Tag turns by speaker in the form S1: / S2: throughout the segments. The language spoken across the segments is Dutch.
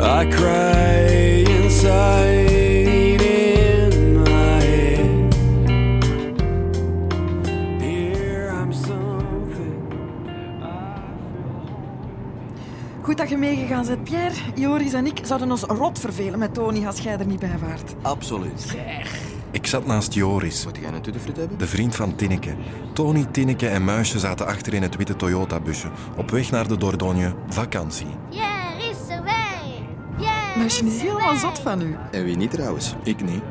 S1: I cry inside in my head. Dear, I'm something.
S2: Goed dat je meegegaan bent, Pierre. Joris en ik zouden ons rot vervelen met Tony als jij er niet bij waart.
S3: Oh,
S4: Absoluut.
S5: Ik zat naast Joris,
S4: Moet jij een tuddefrit hebben?
S5: de vriend van Tinneke. Tony, Tinneke en Muisje zaten achter in het witte Toyota-busje op weg naar de Dordogne vakantie.
S6: Pierre is er weer. Pierre
S2: Maar ze is helemaal
S6: erbij.
S2: zot van u.
S4: En wie niet trouwens?
S5: Ik niet.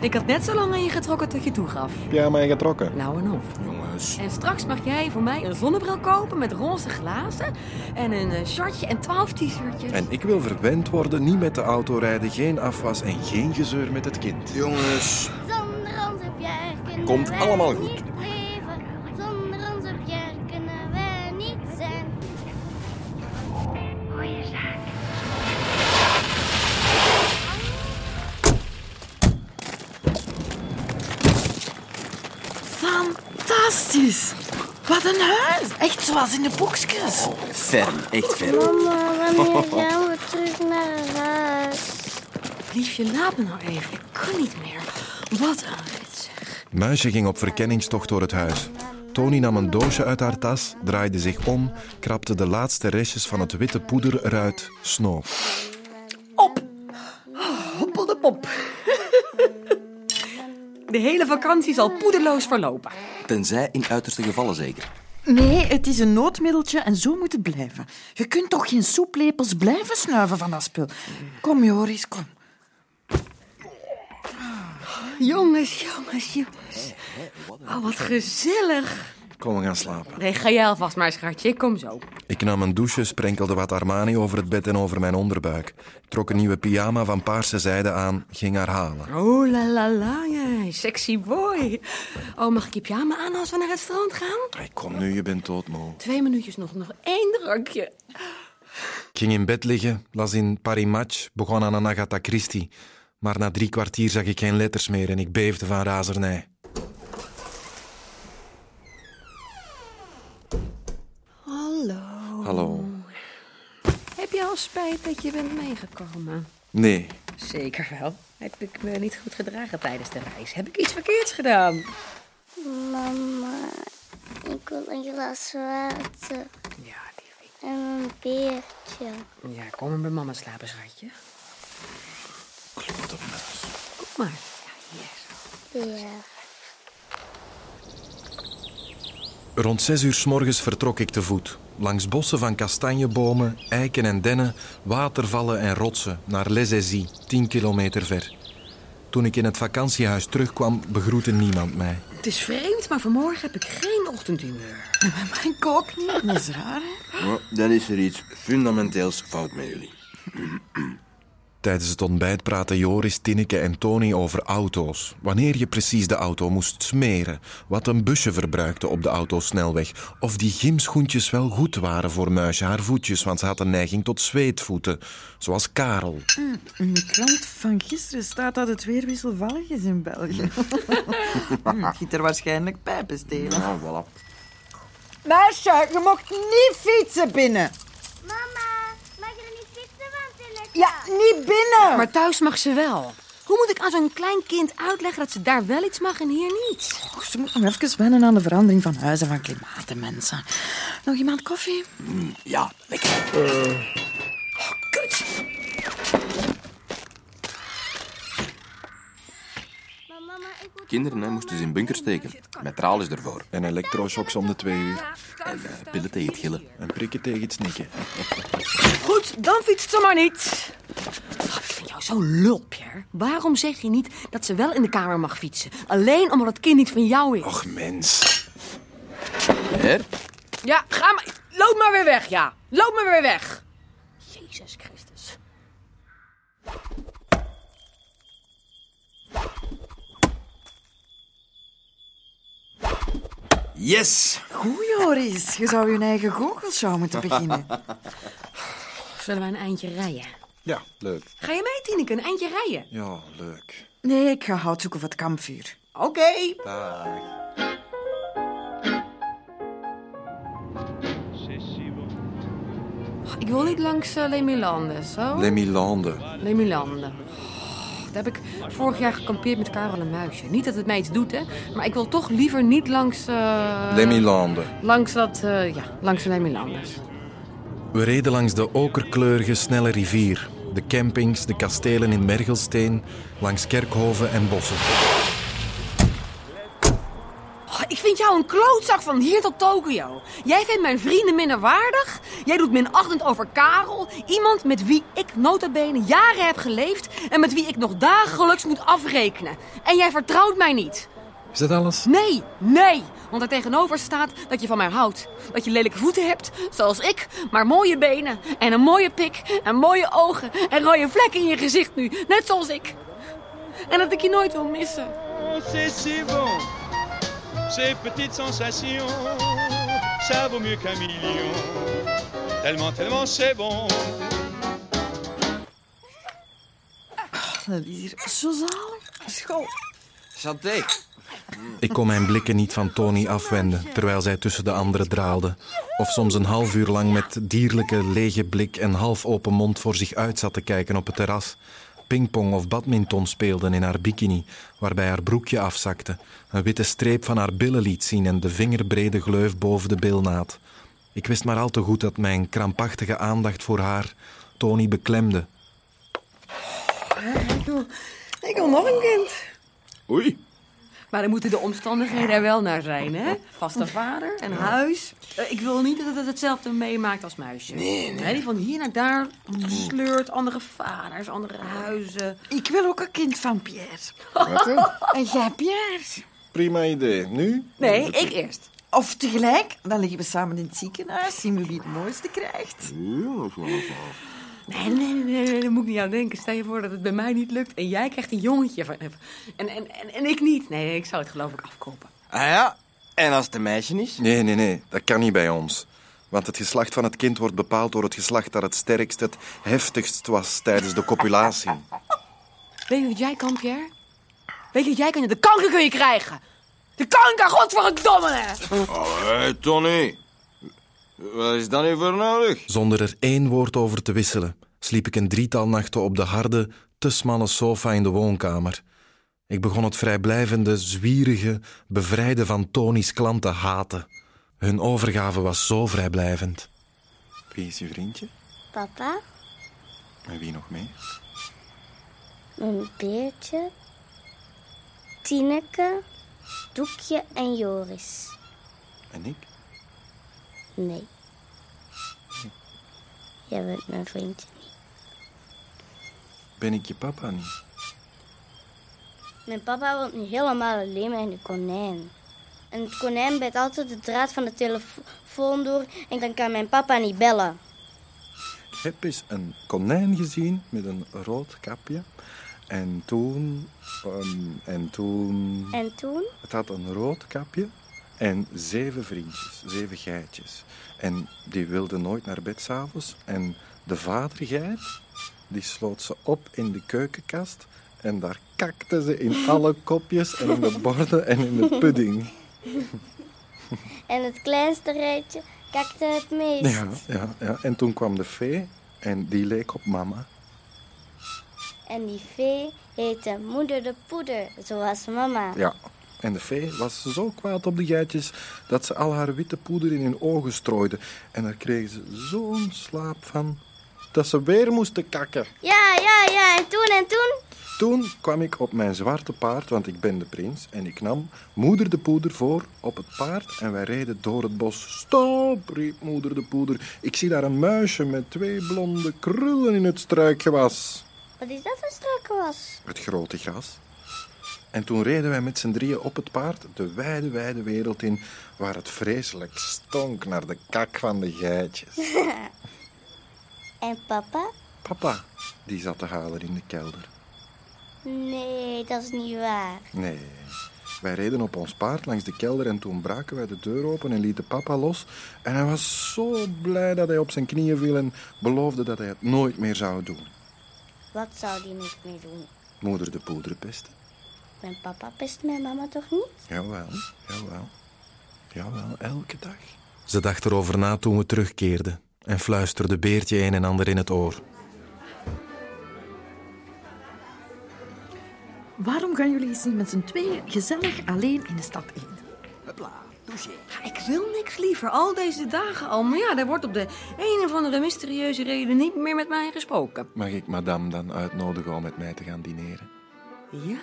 S3: Ik had net zo lang aan je getrokken tot je toegaf.
S5: Ja, maar getrokken.
S3: Nou en of.
S4: Jongens.
S3: En straks mag jij voor mij een zonnebril kopen met roze glazen en een eh, shortje en twaalf t-shirtjes.
S5: En ik wil verwend worden, niet met de auto rijden, geen afwas en geen gezeur met het kind.
S4: Jongens.
S6: Zonder onze Pierre kunnen
S4: Komt
S6: wij
S4: allemaal
S6: niet
S4: goed.
S6: leven. Zonder onze Pierre kunnen wij niet zijn. Goeie zaak.
S2: Fantastisch! Wat een huis! Echt zoals in de boekjes.
S3: Oh,
S4: Ferm, echt ferm.
S6: Mama, wanneer gaan we terug naar huis?
S3: Liefje, laat me nou even. Ik kan niet meer. Wat een rits.
S5: Muisje ging op verkenningstocht door het huis. Tony nam een doosje uit haar tas, draaide zich om, krapte de laatste restjes van het witte poeder eruit, snoof.
S3: Hoppelde pop. De hele vakantie zal poederloos verlopen.
S4: Tenzij in uiterste gevallen zeker.
S2: Nee, het is een noodmiddeltje en zo moet het blijven. Je kunt toch geen soeplepels blijven snuiven van dat spul? Kom, Joris, kom.
S3: Jongens, jongens, jongens. Oh, wat gezellig.
S5: Kom, we gaan slapen.
S3: Nee, ga jij alvast maar, schatje. Ik kom zo.
S5: Ik nam een douche, sprenkelde wat Armani over het bed en over mijn onderbuik. Trok een nieuwe pyjama van paarse zijde aan, ging haar halen.
S3: Oh, la la la, jij. Sexy boy. Oh, mag ik je pyjama aan als we naar het strand gaan?
S5: Hey, kom nu, je bent doodmoe.
S3: Twee minuutjes nog, nog één drankje.
S5: Ik ging in bed liggen, las in Parimatch, begon aan een Agatha Christie. Maar na drie kwartier zag ik geen letters meer en ik beefde van razernij.
S3: Hallo.
S5: Hallo.
S3: Heb je al spijt dat je bent meegekomen?
S5: Nee.
S3: Zeker wel. Heb ik me niet goed gedragen tijdens de reis? Heb ik iets verkeerds gedaan?
S6: Mama, ik wil een glas water
S3: Ja, liefie.
S6: en een beertje.
S3: Ja, kom maar bij mama slapen, schatje.
S5: Klote muis.
S3: Kom maar. Ja, yes.
S6: Ja.
S5: Rond zes uur s morgens vertrok ik te voet. Langs bossen van kastanjebomen, eiken en dennen, watervallen en rotsen naar Les Aisies, tien kilometer ver. Toen ik in het vakantiehuis terugkwam, begroette niemand mij.
S3: Het is vreemd, maar vanmorgen heb ik geen ochtendhumeur.
S2: Maar ik ook niet. Dat is raar, hè?
S4: Dan is er iets fundamenteels fout met jullie.
S5: Tijdens het ontbijt praten Joris, Tinneke en Tony over auto's. Wanneer je precies de auto moest smeren, wat een busje verbruikte op de autosnelweg, of die gymschoentjes wel goed waren voor muisje haar voetjes, want ze had een neiging tot zweetvoeten, zoals Karel.
S2: In de krant van gisteren staat dat het weer wisselvallig is in België. Hm, het Giet er waarschijnlijk pijpen stelen.
S4: Nou, voilà.
S2: Meisje, je mocht niet fietsen binnen.
S6: Mama, mag je er niet fietsen van in het
S2: Ja, niet
S7: Oh.
S2: binnen.
S3: Maar thuis mag ze wel. Hoe moet ik aan zo'n klein kind uitleggen dat ze daar wel iets mag en hier niet?
S2: Och, ze moet nog even wennen aan de verandering van huizen van klimaat en mensen. Nog iemand koffie?
S4: Ja, lekker.
S3: Kut!
S6: Maar mama, ik wil...
S4: Kinderen hè, moesten ze in bunkers steken. Met tralies ervoor.
S5: En elektroshocks om de twee uur.
S4: En eh, pillen tegen het gillen.
S5: En prikken tegen het snikken.
S3: Goed, dan fietst ze maar niet. Ach, Ik vind jou zo'n lul, Pierre. Waarom zeg je niet dat ze wel in de kamer mag fietsen? Alleen omdat het kind niet van jou is.
S5: Och mens.
S4: Her?
S3: Ja, ga maar. Loop maar weer weg, ja. Loop maar weer weg. Jezus Christus.
S4: Yes!
S2: Goed, Joris. Je zou je eigen goochelshow moeten beginnen.
S3: Zullen we een eindje rijden?
S5: Ja, leuk.
S3: Ga je mee, Tineke? Een eindje rijden?
S5: Ja, leuk.
S2: Nee, ik ga hout zoeken voor het kampvuur.
S3: Oké.
S7: Ik wil niet langs uh, Les Milandes, zo?
S5: Les Milande.
S7: Les Milandes. Oh, daar heb ik vorig jaar gekampeerd met Karel en Muisje. Niet dat het mij iets doet, hè. Maar ik wil toch liever niet langs... eh,
S5: Les Milande.
S7: Langs dat... eh, ja, langs de Les Milandes.
S5: We reden langs de okerkleurige snelle rivier. De campings, de kastelen in Mergelsteen, langs kerkhoven en bossen.
S3: Oh, ik vind jou een klootzak van hier tot Tokio. Jij vindt mijn vrienden minderwaardig. Jij doet minachtend over Karel. Iemand met wie ik nota bene jaren heb geleefd... en met wie ik nog dagelijks moet afrekenen. En jij vertrouwt mij niet.
S5: Is dat alles?
S3: Nee, nee. Want er tegenover staat dat je van mij houdt. Dat je lelijke voeten hebt, zoals ik, maar mooie benen. En een mooie pik, en mooie ogen, en rode vlekken in je gezicht nu. Net zoals ik. En dat ik je nooit wil missen.
S8: Oh, c'est si bon, ces petites sensations, ça vaut mieux qu'un million. Tellement, tellement c'est bon.
S2: Dat is hier zo zalig. School.
S4: Santé.
S5: Ik kon mijn blikken niet van Tony afwenden, terwijl zij tussen de anderen draalde. Of soms een half uur lang met dierlijke, lege blik en half open mond voor zich uit zat te kijken op het terras. Pingpong of badminton speelden in haar bikini, waarbij haar broekje afzakte. Een witte streep van haar billen liet zien en de vingerbrede gleuf boven de bilnaad. Ik wist maar al te goed dat mijn krampachtige aandacht voor haar Tony beklemde.
S3: Ik wil nog een kind.
S4: Oei.
S3: Maar dan moeten de omstandigheden er wel naar zijn, hè? Vaste vader, een huis. Eh, ik wil niet dat het hetzelfde meemaakt als muisje. Nee, nee. die van hier naar daar sleurt andere vaders, andere huizen.
S2: Ik wil ook een kind van Pierre. En jij, Pierre?
S5: Prima idee. Nu?
S3: Nee, ik eerst.
S2: Of tegelijk, dan liggen we samen in het ziekenhuis, zien we wie het mooiste krijgt.
S3: Nee, nee, nee, nee, nee, daar moet ik niet aan denken. Stel je voor dat het bij mij niet lukt en jij krijgt een jongetje van En, en, en, en ik niet. Nee, nee, ik zou het geloof ik afkopen.
S4: Ah ja, en als het een meisje is?
S5: Nee, nee, nee, dat kan niet bij ons. Want het geslacht van het kind wordt bepaald door het geslacht dat het sterkst, het heftigst was tijdens de copulatie.
S3: Weet je wat jij kan, Pierre? Weet je wat jij kan? De kanker kun je krijgen! De kanker, godverdomme!
S4: Allee, eh, Tony. Wat is daar nu voor nodig?
S5: Zonder er één woord over te wisselen, sliep ik een drietal nachten op de harde, te smalle sofa in de woonkamer. Ik begon het vrijblijvende, zwierige, bevrijden van Tony's klanten haten. Hun overgave was zo vrijblijvend.
S4: Wie is uw vriendje?
S6: Papa,
S4: En wie nog mee?
S6: een beertje, Tineke, Doekje en Joris.
S4: En ik?
S6: Nee. Jij bent mijn vriendje.
S4: Ben ik je papa niet?
S6: Mijn papa woont nu helemaal alleen met een konijn. En het konijn bijt altijd de draad van de telefoon door en dan kan mijn papa niet bellen.
S4: Ik heb eens een konijn gezien met een rood kapje. En toen... ehm, en toen...
S6: En toen?
S4: Het had een rood kapje en zeven vriendjes, zeven geitjes. En die wilden nooit naar bed s'avonds. En de vadergeit, die sloot ze op in de keukenkast. En daar kakte ze in alle kopjes en in de borden en in de pudding.
S6: En het kleinste rijtje kakte het meest.
S4: Ja, ja, ja. En toen kwam de fee en die leek op mama.
S6: En die vee heette Moeder de Poeder, zoals mama.
S4: Ja. En de fee was zo kwaad op de geitjes dat ze al haar witte poeder in hun ogen strooide. En daar kregen ze zo'n slaap van dat ze weer moesten kakken.
S6: Ja, ja, ja. En toen en toen?
S4: Toen kwam ik op mijn zwarte paard, want ik ben de prins, en ik nam moeder de poeder voor op het paard en wij reden door het bos. Stop, riep moeder de poeder. Ik zie daar een muisje met twee blonde krullen in het struikgewas.
S6: Wat is dat voor struiken was?
S4: Het grote gras. En toen reden wij met z'n drieën op het paard de wijde, wijde wereld in, waar het vreselijk stonk naar de kak van de geitjes.
S6: En papa?
S4: Papa, die zat te halen in de kelder.
S6: Nee, dat is niet waar.
S4: Nee. Wij reden op ons paard langs de kelder en toen braken wij de deur open en lieten papa los. En hij was zo blij dat hij op zijn knieën viel en beloofde dat hij het nooit meer zou doen.
S6: Wat zou die niet meer doen?
S4: Moeder de poeder pesten.
S6: Mijn papa pest mijn mama toch niet?
S4: Jawel, jawel. Jawel, elke dag.
S5: Ze dacht erover na toen we terugkeerden. en fluisterde Beertje een en ander in het oor.
S8: Waarom gaan jullie eens niet met z'n tweeën gezellig alleen in de stad eten? Hopla, douche.
S3: Ja, ik wil niks liever, al deze dagen al. Maar ja, daar wordt op de een of andere mysterieuze reden niet meer met mij gesproken.
S4: Mag ik madame dan uitnodigen om met mij te gaan dineren?
S3: Ja.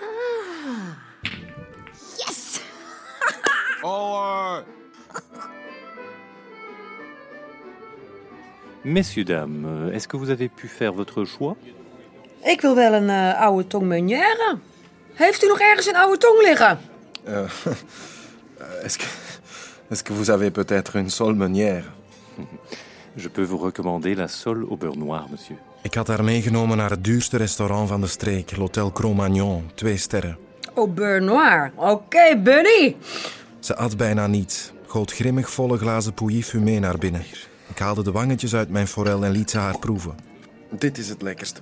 S3: Yes!
S9: Messieurs, dames, euh, est-ce que vous avez pu faire votre choix
S3: Ik wil wel een eh, oude tong meunière. Heeft u nog ergens een oude tong liggen?
S4: Eh, Est-ce que, est que vous avez peut-être une sole meunière
S9: Je peux vous recommander la sole au beurre noir, monsieur.
S5: Ik had haar meegenomen naar het duurste restaurant van de streek, l'Hôtel Cro-Magnon, twee sterren.
S3: Oh, beurre noir. Oké, bunny.
S5: Ze at bijna niets, goot grimmig volle glazen pouilly-fumé naar binnen. Ik haalde de wangetjes uit mijn forel en liet ze haar proeven.
S4: Dit is het lekkerste.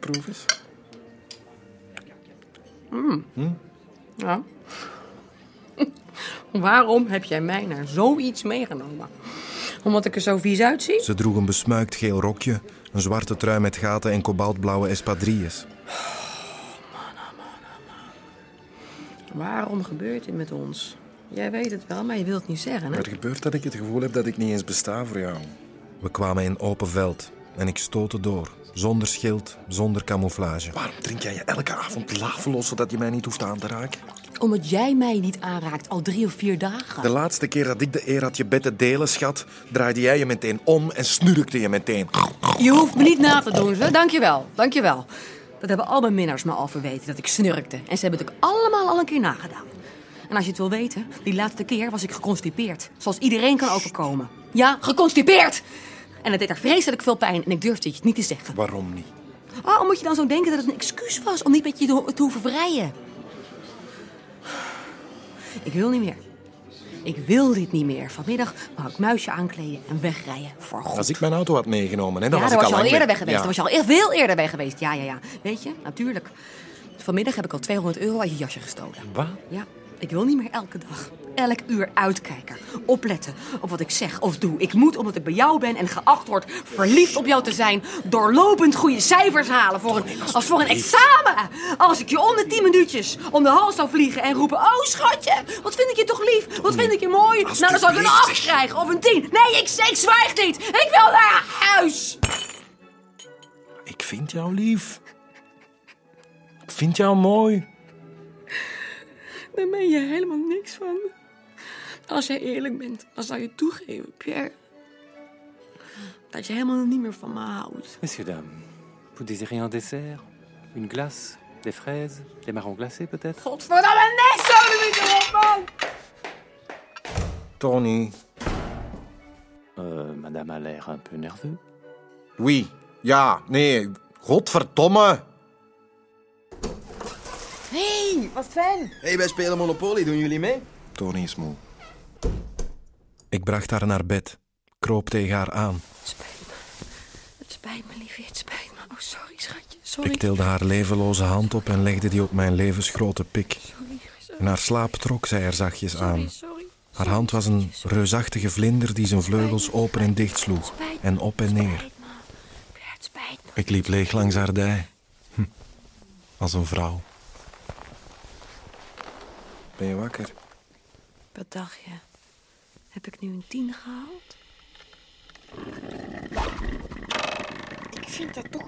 S4: Proef eens.
S3: Ja. Waarom heb jij mij naar zoiets meegenomen? Omdat ik er zo vies uitzie?
S5: Ze droeg een besmuikt geel rokje, een zwarte trui met gaten en kobaltblauwe espadrilles.
S3: Waarom gebeurt dit met ons? Jij weet het wel, maar je wilt het niet zeggen, hè?
S4: Er gebeurt dat ik het gevoel heb dat ik niet eens besta voor jou.
S5: We kwamen in open veld en ik stootte door, zonder schild, zonder camouflage.
S4: Waarom drink jij je elke avond laveloos zodat je mij niet hoeft aan te raken?
S10: Omdat jij mij niet aanraakt al drie of vier dagen.
S5: De laatste keer dat ik de eer had je bed te delen, schat, draaide jij je meteen om en snurkte je meteen.
S3: Je hoeft me niet na te doen, hè? Dankjewel, dankjewel. Dat hebben al mijn minnaars me al verweten, dat ik snurkte. En ze hebben het ook allemaal al een keer nagedaan. En als je het wil weten, die laatste keer was ik geconstipeerd. Zoals iedereen kan overkomen. Ja, geconstipeerd! En het deed haar vreselijk veel pijn en ik durfde het je niet te zeggen.
S5: Waarom niet?
S3: Waarom moet je dan zo denken dat het een excuus was om niet met je te- te hoeven vrijen? Ik wil niet meer. Ik wil dit niet meer. Vanmiddag wou ik muisje aankleden en wegrijden voor goed.
S5: Als ik mijn auto had meegenomen, hè, dan
S3: Ja,
S5: was
S3: daar
S5: ik
S3: was je al
S5: lang
S3: eerder bij
S5: weg
S3: geweest.
S5: Ja.
S3: Daar was je al eer- veel eerder bij geweest. Ja, ja, ja. Weet je, natuurlijk. Vanmiddag heb ik al 200 euro uit je jasje gestolen.
S9: Wat
S3: Ja, ik wil niet meer elke dag, elk uur uitkijken. Opletten op wat ik zeg of doe. Ik moet, omdat ik bij jou ben en geacht word verliefd op jou te zijn... doorlopend goede cijfers halen voor een, als voor een examen. Als ik je om de 10 minuutjes om de hals zou vliegen en roepen... Oh, schatje, wat vind ik je toch lief? Wat vind ik je mooi? Nou, dan zou ik een
S5: alsjeblieft,
S3: 8 krijgen of een 10. Nee, ik, ik zwijg niet. Ik wil naar huis.
S5: Ik vind jou lief. Ik vind jou mooi.
S3: Daar ben je helemaal niks van. Als jij eerlijk bent, dan zou je toegeven, Pierre. Dat je helemaal niet meer van me houdt.
S9: Messieurs, dames, vous désirez un dessert Une glace Des fraises Des marrons glacés, peut-être
S3: Godverdamme, nee, zo doe ik erop, man!
S5: Tony.
S9: Euh, Madame a l'air un peu nerveux.
S5: Wie? Ja, nee. Godverdomme.
S11: hey, wij spelen Monopoly, doen jullie mee?
S5: Tony is moe. Ik bracht haar naar bed, kroop tegen haar aan.
S3: Het spijt me. Het spijt me, liefje. Het spijt me. Oh, sorry, schatje. Sorry.
S5: Ik tilde haar levenloze hand op en legde die op mijn levensgrote pik. In haar slaap trok zij er zachtjes aan.
S3: Sorry.
S5: Haar hand was een reusachtige vlinder die zijn
S3: Nou,
S5: vleugels open en dicht sloeg. En op en neer.
S3: Spijt me. Pierre, het spijt me.
S5: Ik liep leeg langs haar dij. Hm. Als een vrouw.
S4: Ben je wakker?
S3: Wat dacht je? Heb ik nu een tien gehaald?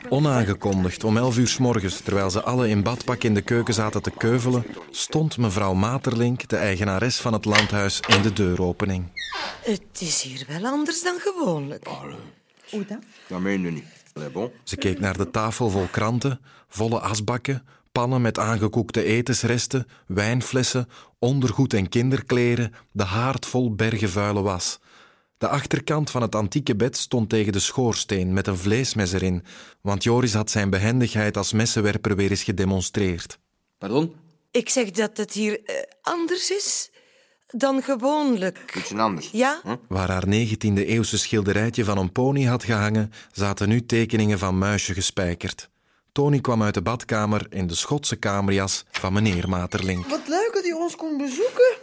S5: Onaangekondigd om elf uur s morgens, terwijl ze alle in badpak in de keuken zaten te keuvelen, stond mevrouw Materlink, de eigenares van het landhuis, in de deuropening.
S12: Het is hier wel anders dan gewoonlijk.
S8: Hoe dat?
S11: Dat meen je niet. Allee, bon.
S5: Ze keek naar de tafel vol kranten, volle asbakken, pannen met aangekoekte etensresten, wijnflessen, ondergoed en kinderkleren, de haard vol bergen vuile was. De achterkant van het antieke bed stond tegen de schoorsteen met een vleesmes erin, want Joris had zijn behendigheid als messenwerper weer eens gedemonstreerd.
S11: Pardon?
S12: Ik zeg dat het hier eh, anders is dan gewoonlijk.
S11: Ietsje anders.
S12: Ja?
S5: Waar haar 19e-eeuwse schilderijtje van een pony had gehangen, zaten nu tekeningen van muisje gespijkerd. Tony kwam uit de badkamer in de Schotse kamerjas van meneer Materlink.
S8: Wat leuk dat u ons kon bezoeken.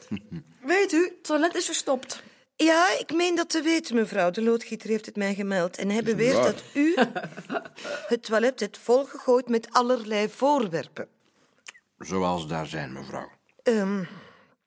S8: Weet u, het toilet is verstopt.
S12: Ja, ik meen dat te weten, mevrouw. De loodgieter heeft het mij gemeld. En hij beweert
S11: waar?
S12: dat u het toilet hebt volgegooid met allerlei voorwerpen.
S11: Zoals daar zijn, mevrouw.
S12: Ehm,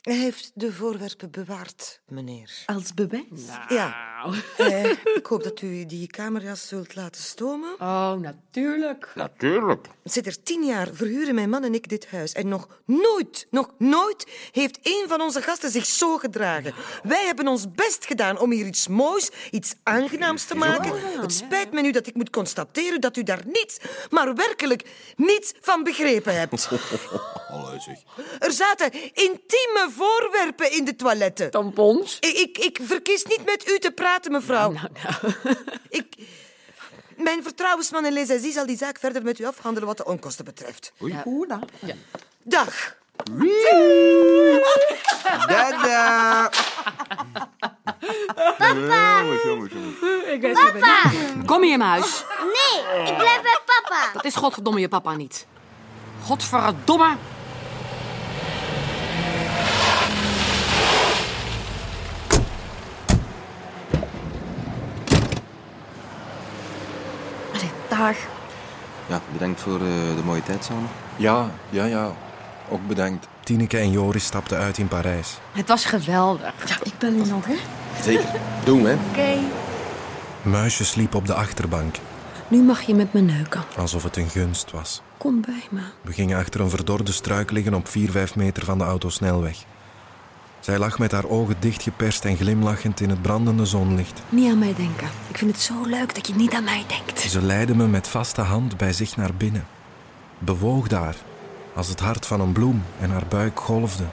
S12: hij heeft de voorwerpen bewaard. Meneer.
S3: Als bewijs?
S12: Ja. Eh, ik hoop dat u die kamerjas zult laten stomen.
S3: Oh, natuurlijk.
S11: Natuurlijk.
S12: Sinds er tien jaar verhuren mijn man en ik dit huis. En nog nooit, nog nooit heeft een van onze gasten zich zo gedragen. Wij hebben ons best gedaan om hier iets moois, iets aangenaams te maken. Het spijt me nu dat ik moet constateren dat u daar niets, maar werkelijk niets van begrepen hebt.
S11: Hallo zeg.
S12: Er zaten intieme voorwerpen in de toiletten.
S3: Tampons?
S12: Ik, ik, ik verkies niet met u te praten, mevrouw. Ik, mijn vertrouwensman in Les Aziz zal die zaak verder met u afhandelen wat de onkosten betreft.
S11: Oei.
S3: Ja.
S12: Dag.
S11: Dada. Papa.
S3: Ik ben zo benieuwd. Kom hier, muis.
S6: Nee, ik blijf bij papa.
S3: Dat is godverdomme je papa niet. Godverdomme. Allee, Dag.
S13: Ja, bedankt voor eh, de mooie tijd samen.
S14: Ja, ja, ja. Ook bedankt.
S5: Tineke en Joris stapten uit in Parijs.
S3: Het was geweldig. Ja, ik ben hier nog, hè?
S5: Zeker. Doen, hè?
S3: Oké.
S5: Muisje sliep op de achterbank,
S3: Nu mag je met me neuken.
S5: alsof het een gunst was.
S3: Kom bij me.
S5: We gingen achter een verdorde struik liggen op 4, 5 meter van de autosnelweg. Zij lag met haar ogen dichtgeperst en glimlachend in het brandende zonlicht.
S3: Niet aan mij denken. Ik vind het zo leuk dat je niet aan mij denkt.
S5: Ze leidde me met vaste hand bij zich naar binnen. Bewoog daar, als het hart van een bloem en haar buik golfde.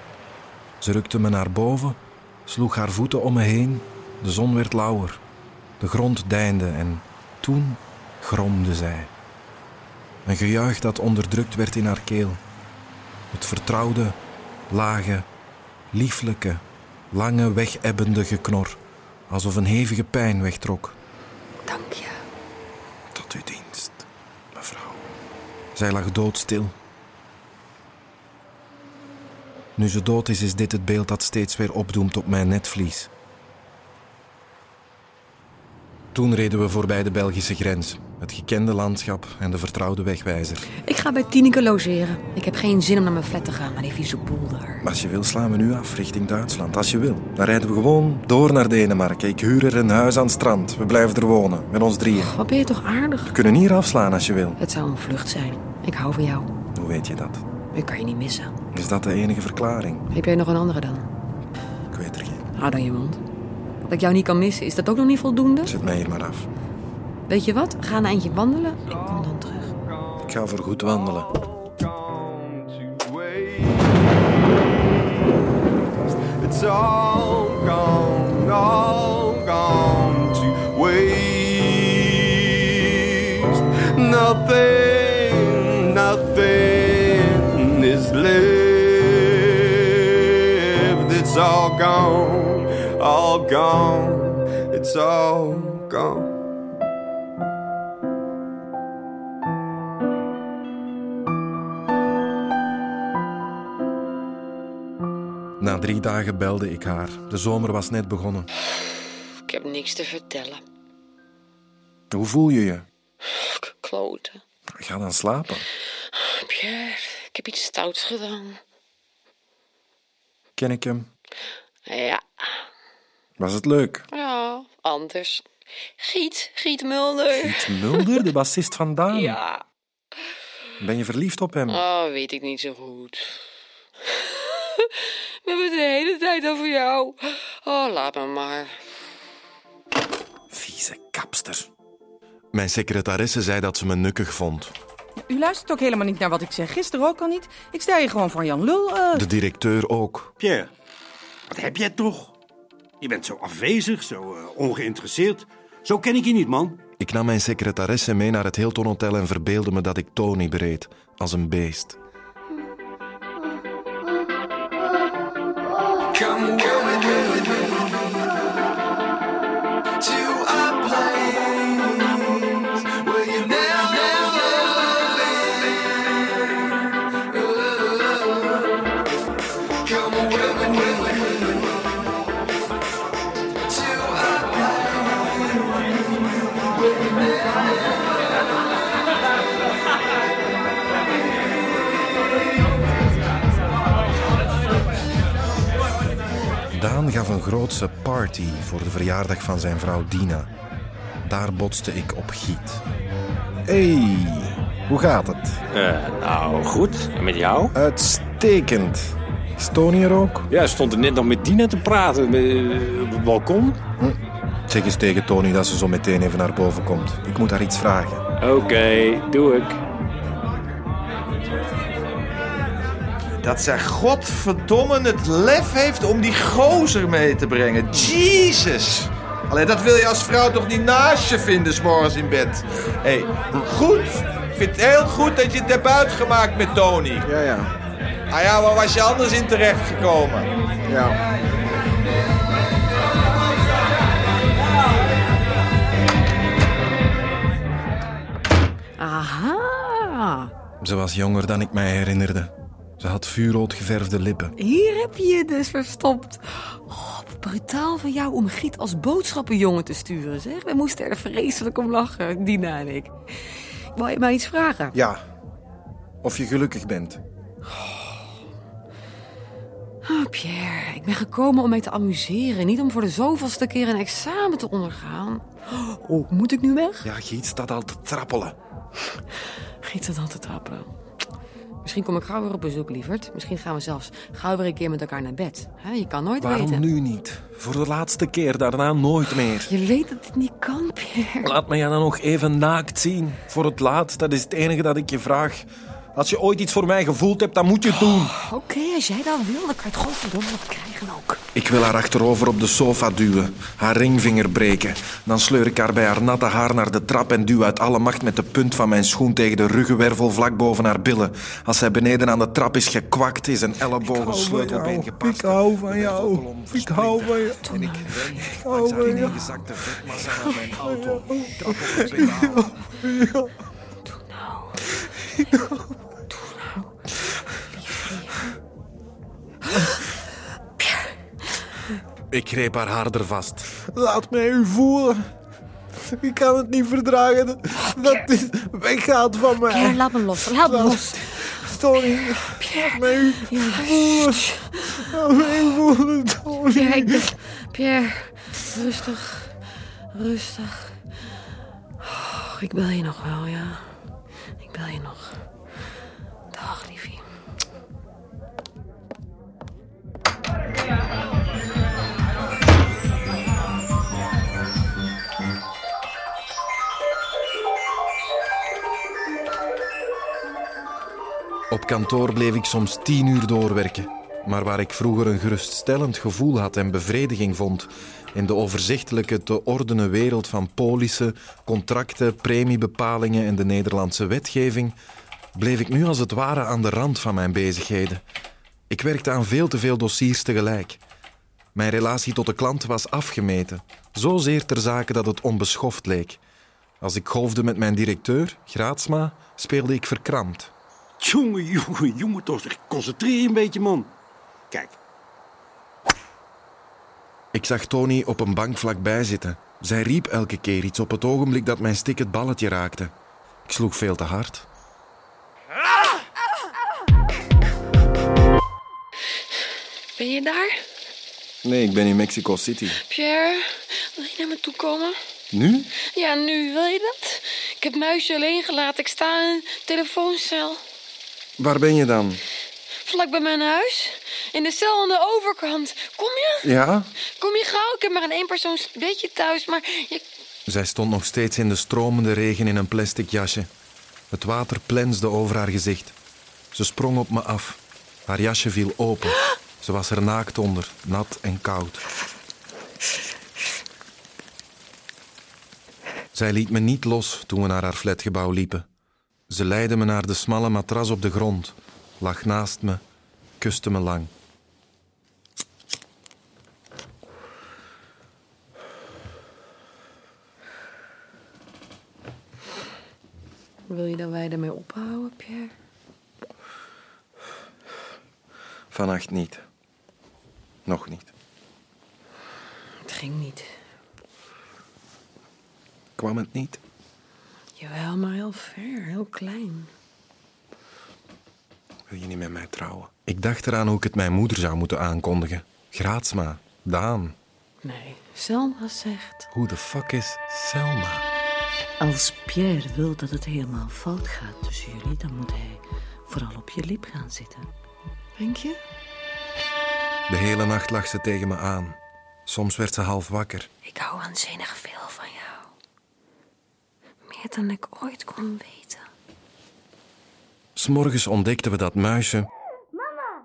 S5: Ze rukte me naar boven, sloeg haar voeten om me heen. De zon werd lauwer. De grond deinde en toen gromde zij. Een gejuich dat onderdrukt werd in haar keel. Het vertrouwde, lage, lieflijke, lange wegebbende geknor, alsof een hevige pijn wegtrok.
S3: Dank je.
S5: Tot uw dienst, mevrouw. Zij lag doodstil. Nu ze dood is, is dit het beeld dat steeds weer opdoemt op mijn netvlies. Toen reden we voorbij de Belgische grens, het gekende landschap en de vertrouwde wegwijzer.
S3: Ik ga bij Tineke logeren. Ik heb geen zin om naar mijn flat te gaan, maar die vieze boelder.
S5: Als je wil, slaan we nu af richting Duitsland. Als je wil, dan rijden we gewoon door naar Denemarken. Ik huur er een huis aan het strand. We blijven er wonen, met ons drieën.
S3: Wat ben je toch aardig?
S5: We kunnen hier afslaan als je wil.
S3: Het zou een vlucht zijn. Ik hou van jou.
S5: Hoe weet je dat?
S3: Ik kan je niet missen.
S5: Is dat de enige verklaring?
S3: Heb jij nog een andere dan?
S5: Ik weet er geen.
S3: Hou dan je mond. Dat ik jou niet kan missen, is dat ook nog niet voldoende?
S5: Zet mij hier maar af.
S3: Weet je wat? Ga een eindje wandelen.
S5: Ik ga voorgoed wandelen.
S1: It's all gone, all gone to waste. Nothing, nothing is left. It's all gone, all gone. It's all gone.
S5: Na drie dagen belde ik haar. De zomer was net begonnen.
S15: Ik heb niks te vertellen.
S5: Hoe voel je je?
S15: K- Kloten.
S5: Ga dan slapen.
S15: Pierre, ik heb iets stouts gedaan.
S5: Ken ik hem?
S15: Ja,
S5: Was het leuk?
S15: ja, anders. Giet, Giet Mulder.
S5: Piet Mulder, de bassist van Daan.
S15: Ja.
S5: Ben je verliefd op hem?
S15: Oh, weet ik niet zo goed. We hebben het de hele tijd over jou. Oh, laat me maar.
S5: Vieze kapster. Mijn secretaresse zei dat ze me nukkig vond.
S16: U luistert ook helemaal niet naar wat ik zeg. Gisteren ook al niet. Ik sta hier gewoon voor Jan Lul. eh.
S5: De directeur ook.
S17: Pierre, wat heb jij toch? Je bent zo afwezig, zo eh, ongeïnteresseerd. Zo ken ik je niet, man.
S5: Ik nam mijn secretaresse mee naar het Hilton Hotel en verbeelde me dat ik Tony bereed, als een beest.
S1: Come, come with me to a place where you never, never been. Come with me to
S5: Sven gaf een grootse party voor de verjaardag van zijn vrouw Dina. Daar botste ik op Giet. Hé, hey, hoe gaat het?
S18: Eh, nou, goed. En met jou?
S5: Uitstekend. Stond hier ook?
S18: Ja, stond er net nog met Dina te praten eh, op het balkon.
S5: Zeg eens tegen Tony dat ze zo meteen even naar boven komt. Ik moet haar iets vragen.
S18: Oké, doe ik.
S17: Dat zij godverdomme het lef heeft om die gozer mee te brengen. Jesus! Alleen dat wil je als vrouw toch niet naast je vinden, s'morgens in bed. Hé, hey, goed. Ik vind het heel goed dat je het hebt uitgemaakt met Tony.
S4: Ja, ja.
S17: Ah ja, waar was je anders in terechtgekomen?
S4: Ja.
S3: Aha.
S5: Ze was jonger dan ik mij herinnerde. Ze had vuurrood geverfde lippen.
S3: Hier heb je je dus verstopt. Oh, brutaal van jou om Giet als boodschappenjongen te sturen, zeg. We moesten er vreselijk om lachen, Dina en ik. Wou je mij iets vragen?
S5: Ja. Of je gelukkig bent.
S3: Oh, Pierre, ik ben gekomen om mij te amuseren. Niet om voor de zoveelste keer een examen te ondergaan. Oh, moet ik nu weg?
S5: Ja, Giet staat al te trappelen.
S3: Giet zat al te trappelen. Misschien kom ik gauw weer op bezoek, lieverd. Misschien gaan we zelfs gauw weer een keer met elkaar naar bed. Hè, je kan nooit
S5: Waarom
S3: weten.
S5: nu niet? Voor de laatste keer, daarna nooit meer.
S3: Je weet dat het niet kan, Pierre.
S5: Laat me je dan nog even naakt zien. Voor het laatst, dat is het enige dat ik je vraag. Als je ooit iets voor mij gevoeld hebt, dan moet je het doen.
S3: Oké, als jij dat wil, dan kan je het godverdomme nog krijgen ook.
S5: Ik wil haar achterover op de sofa duwen, haar ringvinger breken. Dan sleur ik haar bij haar natte haar naar de trap en duw uit alle macht met de punt van mijn schoen tegen de ruggenwervel vlak boven haar billen. Als zij beneden aan de trap is gekwakt, is een ellebogen sleutelbeen gepakt.
S4: Ik hou van jou. Ik hou van jou. Ik hou van jou.
S5: ingezakte vetmassa naar mijn
S4: auto.
S5: Ik greep haar harder vast.
S4: Laat mij u voelen. Ik kan het niet verdragen dat- dat dit weggaat van mij.
S3: Pierre, laat me los. Laat me los.
S4: Tony, laat mij u voelen. Laat mij u voelen, Tony.
S3: Pierre, ik ben- Pierre, rustig. Rustig. Oh, ik bel je nog wel, ja. Ik bel je nog. Dag, liefie.
S5: Op kantoor bleef ik soms tien uur doorwerken. Maar waar ik vroeger een geruststellend gevoel had en bevrediging vond, in de overzichtelijke te ordenen wereld van polissen, contracten, premiebepalingen en de Nederlandse wetgeving, bleef ik nu als het ware aan de rand van mijn bezigheden. Ik werkte aan veel te veel dossiers tegelijk. Mijn relatie tot de klant was afgemeten, zozeer ter zake dat het onbeschoft leek. Als ik golfde met mijn directeur, Graatsma, speelde ik verkrampt.
S19: Jongen, jongen, jongen, toch zeg, concentreer je een beetje, man. Kijk,
S5: Ik zag Tony op een bank vlakbij zitten. Zij riep elke keer iets op het ogenblik dat mijn stik het balletje raakte. Ik sloeg veel te hard.
S16: Ben je daar?
S5: Nee, ik ben in Mexico City.
S16: Pierre, wil je naar me toe komen?
S5: Nu?
S16: Ja, nu, wil je dat? Ik heb muisje alleen gelaten. Ik sta in een telefooncel.
S5: Waar ben je dan?
S16: Vlak bij mijn huis. In de cel aan de overkant. Kom je?
S5: Ja?
S16: Kom je gauw? Ik heb maar een eenpersoons bedje thuis. Maar je...
S5: Zij stond nog steeds in de stromende regen in een plastic jasje. Het water plensde over haar gezicht. Ze sprong op me af. Haar jasje viel open. Ze was er naakt onder, nat en koud. Zij liet me niet los toen we naar haar flatgebouw liepen. Ze leidde me naar de smalle matras op de grond, lag naast me, kuste me lang.
S3: Wil je dat wij ermee ophouden, Pierre?
S5: Vannacht niet. Nog niet.
S3: Het ging niet.
S5: Kwam het niet?
S3: Jawel, maar heel ver, heel klein.
S5: Wil je niet met mij trouwen? Ik dacht eraan hoe ik het mijn moeder zou moeten aankondigen. Graatsma, Daan,
S20: Nee, Selma zegt...
S5: hoe de fuck is Selma?
S21: Als Pierre wil dat het helemaal fout gaat tussen jullie, dan moet hij vooral op je lip gaan zitten.
S20: Denk je?
S5: De hele nacht lag ze tegen me aan. Soms werd ze half wakker.
S20: Ik hou waanzinnig veel van jou. Meer dan ik ooit kon weten.
S5: S'morgens ontdekten we dat Muisje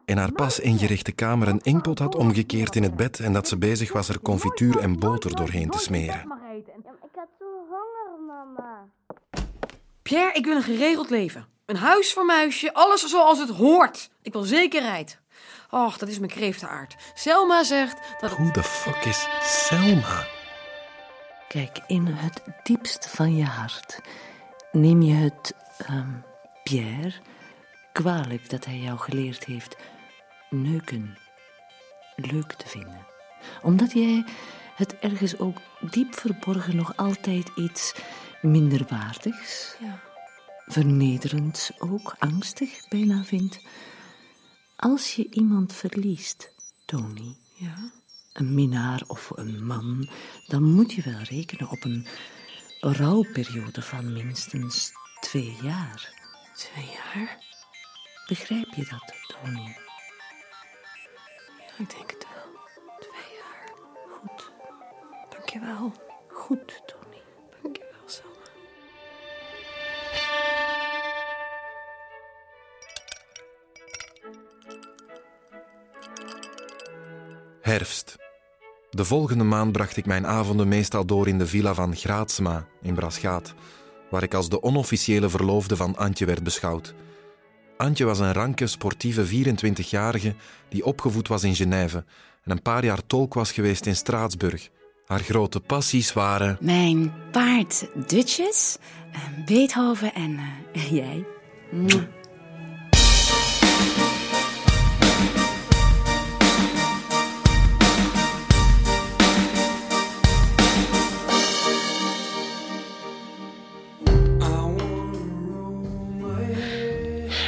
S5: in haar pas ingerichte kamer een inkpot had omgekeerd in het bed en dat ze bezig was er confituur en boter doorheen te smeren.
S22: mag eten. Ik heb zo honger, mama.
S20: Pierre, ik wil een geregeld leven. Een huis voor muisje, alles zoals het hoort. Ik wil zekerheid. Och, dat is mijn kreeftenaard. Selma zegt dat...
S5: Hoe de fuck is Selma?
S21: Kijk, in het diepst van je hart neem je het, ehm, Pierre, kwalijk dat hij jou geleerd heeft neuken leuk te vinden. Omdat jij het ergens ook diep verborgen nog altijd iets minderwaardigs, vernederends ook, angstig bijna vindt. Als je iemand verliest, Tony,
S20: Ja?
S21: een minnaar of een man, dan moet je wel rekenen op een rouwperiode van minstens twee jaar.
S20: Twee jaar?
S21: Begrijp je dat, Tony?
S20: Ja, ik denk het wel. Twee jaar. Goed. Dankjewel.
S21: Goed,
S20: Tony. Dankjewel, Selma.
S5: Herfst. De volgende maand bracht ik mijn avonden meestal door in de villa van Graatsma in Braschaat, waar ik als de onofficiële verloofde van Antje werd beschouwd. Antje was een ranke, sportieve 24-jarige die opgevoed was in Genève en een paar jaar tolk was geweest in Straatsburg. Haar grote passies waren
S23: Mijn paard Dutjes, eh, Beethoven en eh, jij. Mwah.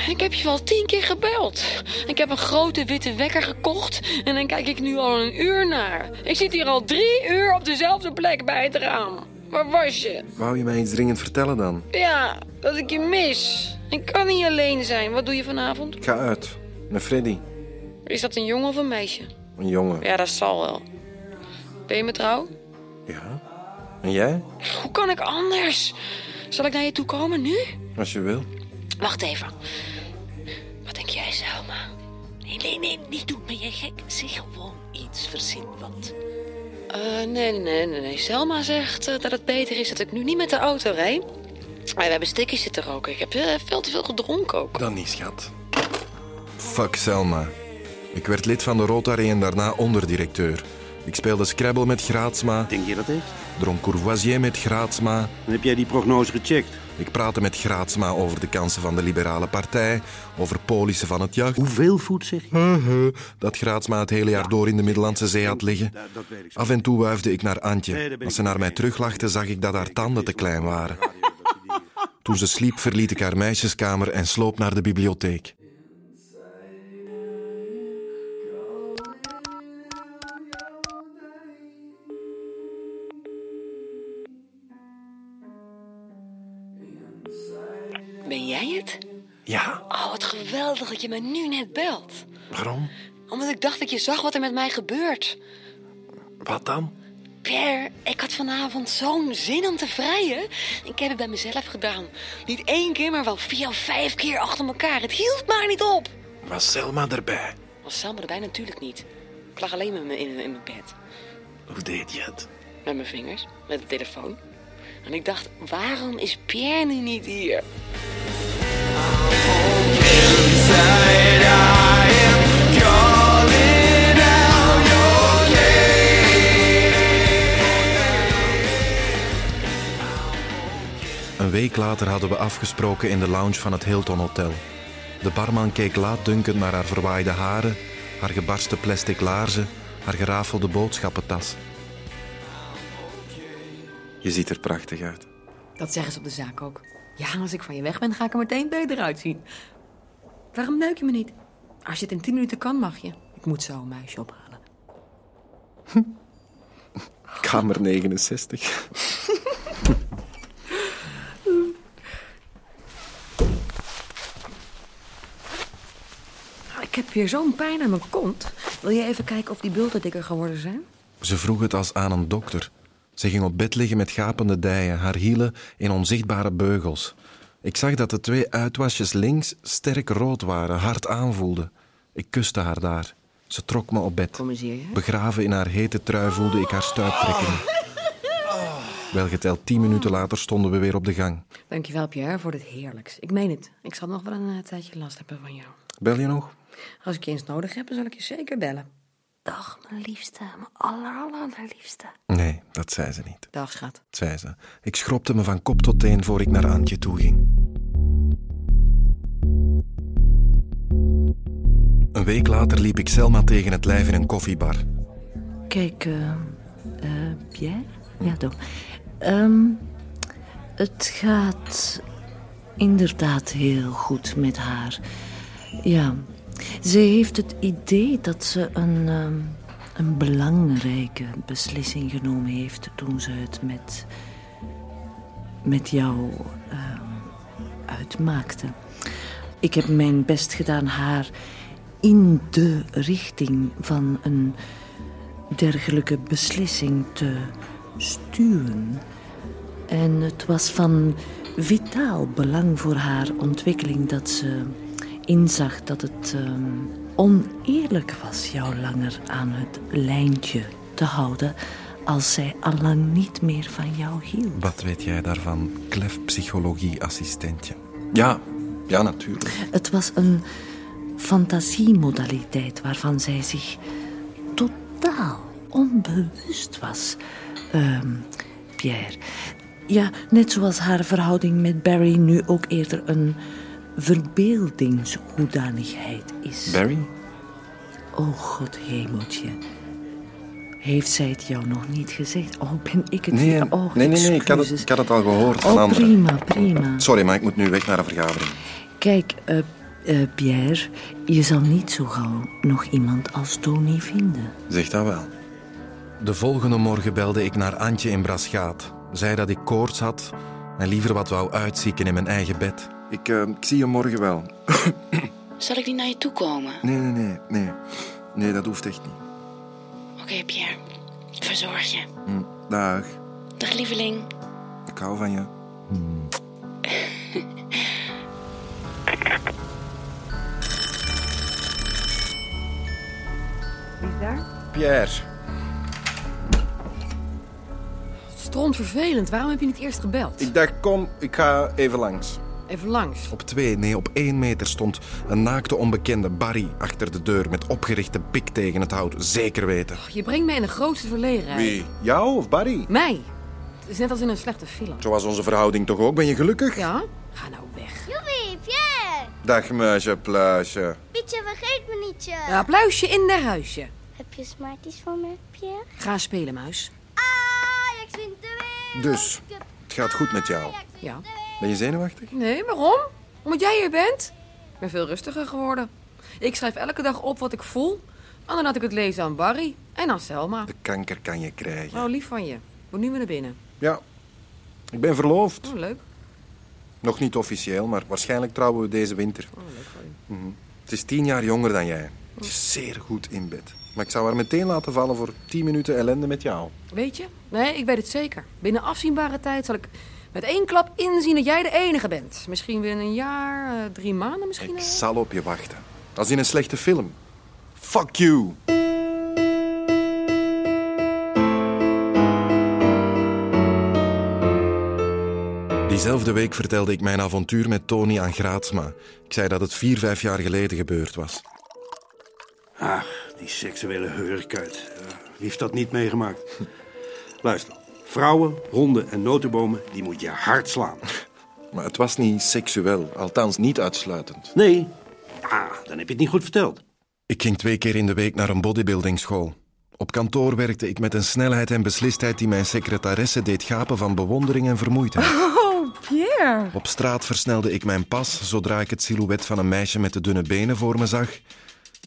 S3: Ik heb je wel tien keer gebeld. Ik heb een grote witte wekker gekocht en dan kijk ik nu al een uur naar. Ik zit hier al drie uur op dezelfde plek bij het raam. Waar was je?
S5: Wou je mij iets dringend vertellen dan?
S3: Ja, dat ik je mis. Ik kan niet alleen zijn. Wat doe je vanavond?
S5: Ik ga uit. Met Freddy.
S3: Is dat een jongen of een meisje?
S5: Een jongen.
S3: Ja, dat zal wel. Ben je me trouw?
S5: Ja? En jij?
S3: Hoe kan ik anders? Zal ik naar je toe komen nu?
S5: Als je wil.
S3: Wacht even. Wat denk jij, Selma? Nee, nee, nee, niet doen. Ben je gek? Zeg gewoon iets. Verzin wat. Eh, nee, nee, nee, nee, nee. Selma zegt eh, dat het beter is dat ik nu niet met de auto rijd. Ah, We hebben stikjes zitten roken. Ik heb eh, veel te veel gedronken ook.
S5: Dan niet, schat. Fuck Selma. Ik werd lid van de Rotary en daarna onderdirecteur. Ik speelde Scrabble met Graatsma. Denk je dat echt? Dronk Courvoisier met Graatsma. En heb jij die prognose gecheckt? Ik praatte met Graatsma over de kansen van de liberale partij, over polissen van het jacht. Hoeveel voet zeg je? Dat Graatsma het hele jaar door in de Middellandse Zee had liggen.
S4: dat weet ik.
S5: Af en toe wuifde ik naar
S4: Nee,
S5: Antje.
S4: daar ben
S5: Als
S4: ik
S5: ze naar mij teruglachte, zag ik dat haar tanden te klein waren. Toen ze sliep, verliet ik haar meisjeskamer en sloop naar de bibliotheek.
S3: Ben jij het?
S5: Ja,
S3: Oh, wat geweldig dat je me nu net belt.
S5: waarom?
S3: Omdat ik dacht dat je zag wat er met mij gebeurt.
S5: Wat dan?
S3: Pierre, ik had vanavond zo'n zin om te vrijen. Ik heb het bij mezelf gedaan. Niet één keer, maar wel vier of vijf keer achter elkaar. Het hield maar niet op.
S5: Was Selma erbij?
S3: Was Selma erbij natuurlijk niet. Ik lag alleen met me in, in mijn bed.
S5: Hoe deed je het?
S3: Met mijn vingers, met de telefoon. En ik dacht, waarom is Pierre nu niet hier?
S5: Een week later hadden we afgesproken in de lounge van het Hilton Hotel. De barman keek laatdunkend naar haar verwaaide haren, haar gebarsten plastic laarzen, haar gerafelde boodschappentas. Je ziet er prachtig uit.
S20: Dat zeggen ze op de zaak ook. Ja, als ik van je weg ben, ga ik er meteen beter uitzien. Waarom neuk je me niet? Als je het in tien minuten kan, mag je. Ik moet zo een muisje ophalen.
S4: Kamer 69.
S3: Ah, Ik heb hier zo'n pijn aan mijn kont. Wil je even kijken of die bulten dikker geworden zijn?
S5: Ze vroeg het als aan een dokter. Ze ging op bed liggen met gapende dijen, haar hielen in onzichtbare beugels. Ik zag dat de twee uitwasjes links sterk rood waren, hard aanvoelden. Ik kuste haar daar. Ze trok me op bed. Begraven in haar hete trui voelde ik haar stuiptrekkingen. Welgeteld tien minuten later stonden we weer op de gang.
S3: Dankjewel, Pierre, voor dit heerlijks. Ik meen het. Ik zal nog wel een eh, tijdje last hebben van jou.
S5: Bel je nog?
S3: Als ik je eens nodig heb, dan zal ik je zeker bellen. Dag, mijn liefste. Mijn aller, allerliefste.
S5: Nee, dat zei ze niet,
S3: Dag, schat.
S5: zei ze. Ik schropte me van kop tot teen voor ik naar Antje toe ging. Een week later liep ik Selma tegen het lijf in een koffiebar.
S21: Kijk, eh, eh, Pierre? Ja, toch. Ehm, het gaat inderdaad heel goed met haar. Ja, ze heeft het idee dat ze een, ehm, een belangrijke beslissing genomen heeft toen ze het met, met jou ehm, uitmaakte. Ik heb mijn best gedaan haar in de richting van een dergelijke beslissing te stuwen. En het was van vitaal belang voor haar ontwikkeling dat ze inzag dat het ehm, oneerlijk was jou langer aan het lijntje te houden als zij allang niet meer van jou hield.
S5: Wat weet jij daarvan, klefpsychologie-assistentje? Ja, ja, natuurlijk.
S21: Het was een fantasiemodaliteit waarvan zij zich totaal onbewust was. Ehm, Pierre. Ja, net zoals haar verhouding met Barry nu ook eerder een verbeeldingshoedanigheid is.
S5: Barry?
S21: Oh, god hemeltje. Heeft zij het jou nog niet gezegd? Oh, ben ik het
S5: Nee,
S21: weer?
S5: nee,
S21: Oh,
S5: nee, nee, ik, had het,
S21: excuses.
S5: ik had het al gehoord van
S21: Oh,
S5: anderen.
S21: prima, prima.
S5: Sorry, maar ik moet nu weg naar een vergadering.
S21: Kijk, eh, eh, Pierre, je zal niet zo gauw nog iemand als Tony vinden.
S5: Zeg dat wel. De volgende morgen belde ik naar Antje in Braschaat. Zei dat ik koorts had en liever wat wou uitzieken in mijn eigen bed. Ik, eh, ik zie je morgen wel.
S16: Zal ik niet naar je toe komen?
S5: Nee, nee, nee, nee. Nee, dat hoeft echt niet.
S16: Oké, Pierre. Ik verzorg je.
S5: Hm. Dag,
S16: Dag, lieveling.
S5: ik hou van je.
S3: Hm. Wie is daar?
S17: Pierre.
S3: Stront vervelend. Waarom heb je niet eerst gebeld?
S4: Ik dacht, kom, ik ga even langs.
S3: Even langs.
S5: Op twee, nee, op één meter stond een naakte onbekende Barry achter de deur met opgerichte pik tegen het hout. Zeker weten.
S3: Je brengt mij in de grootste verlegenheid.
S5: Jou of Barry?
S3: Mij. Het is net als in een slechte film.
S5: Zo was onze verhouding toch ook? Ben je gelukkig?
S3: Ja? nou
S6: Joepie, Pierre!
S17: Dag, muisje, pluisje.
S6: Pietje, vergeet me nietje.
S3: Een applausje in de huisje.
S6: Heb je smarties voor me, Pierre?
S3: Ga spelen, muis.
S6: Ajax wint de
S5: Dus, het gaat goed met jou.
S3: Ja.
S5: Ben je zenuwachtig?
S3: Nee, waarom? Omdat jij hier bent? Ik ben veel rustiger geworden. Ik schrijf elke dag op wat ik voel. En dan laat ik het lezen aan Barry en aan Selma.
S5: Kanker kan je krijgen.
S3: Oh, lief van je. Moet nu weer naar binnen.
S5: Ja. Ik ben verloofd.
S3: Oh, leuk.
S5: Nog niet officieel, maar waarschijnlijk trouwen we deze winter.
S3: Oh, leuk van je.
S5: Mhm. Het is tien jaar jonger dan jij. Ze is zeer goed in bed. Maar ik zou haar meteen laten vallen voor tien minuten ellende met jou.
S3: Weet je? Nee, ik weet het zeker. Binnen afzienbare tijd zal ik met één klap inzien dat jij de enige bent. Misschien binnen een jaar, eh, drie maanden misschien.
S5: Ik zal op je wachten. Als in een slechte film. Fuck you! Diezelfde week vertelde ik mijn avontuur met Tony aan Graatsma. Ik zei dat het vier, vijf jaar geleden gebeurd was.
S19: Ach, die seksuele heurkuit. Eh, Wie heeft dat niet meegemaakt? Luister, vrouwen, honden en notenbomen, die moet je hard slaan.
S5: Maar het was niet seksueel, althans niet uitsluitend.
S19: Nee, ah, dan heb je het niet goed verteld.
S5: Ik ging twee keer in de week naar een bodybuildingschool. Op kantoor werkte ik met een snelheid en beslistheid die mijn secretaresse deed gapen van bewondering en vermoeidheid.
S24: Oh, Pierre.
S5: Op straat versnelde ik mijn pas zodra ik het silhouet van een meisje met de dunne benen voor me zag.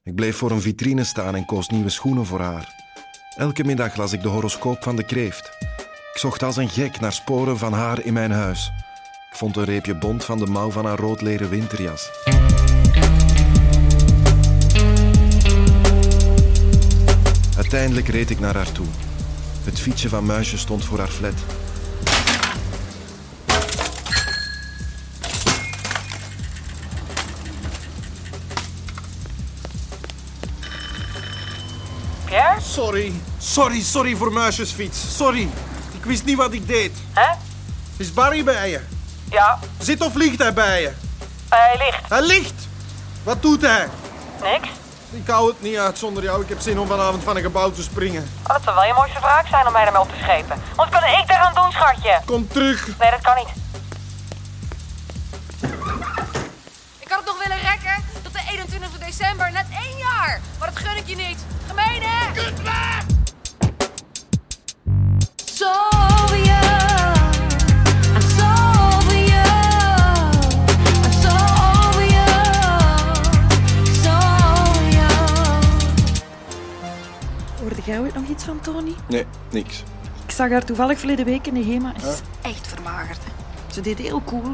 S5: Ik bleef voor een vitrine staan en koos nieuwe schoenen voor haar. Elke middag las ik de horoscoop van de kreeft. Ik zocht als een gek naar sporen van haar in mijn huis. Ik vond een reepje bont van de mouw van haar rood leren winterjas. Uiteindelijk reed ik naar haar toe. Het fietsje van Muisje stond voor haar flat.
S25: Pierre?
S18: Sorry. Sorry, sorry voor muisjesfiets. Sorry. Ik wist niet wat ik deed.
S25: Hè?
S18: Is Barry bij je?
S25: Ja,
S18: Zit of ligt hij bij je?
S25: hij ligt.
S18: Hij ligt! Wat doet hij?
S25: Niks.
S18: Ik hou het niet uit zonder jou. Ik heb zin om vanavond van een gebouw te springen.
S25: Oh, dat zou wel je mooiste wraak zijn om mij ermee op te schepen. Wat kan ik daaraan doen, schatje?
S18: Kom terug.
S25: Nee, dat kan niet.
S3: Ik had het nog willen rekken tot de 21 december, net één jaar. Maar dat gun ik je niet. Gemeen, hè? Zo.
S2: Hoorde jij ooit nog iets van Tony?
S4: Nee, niks.
S2: Ik zag haar toevallig verleden week in de HEMA. Ze is
S7: echt vermagerd. hè.
S2: Ze deed heel cool.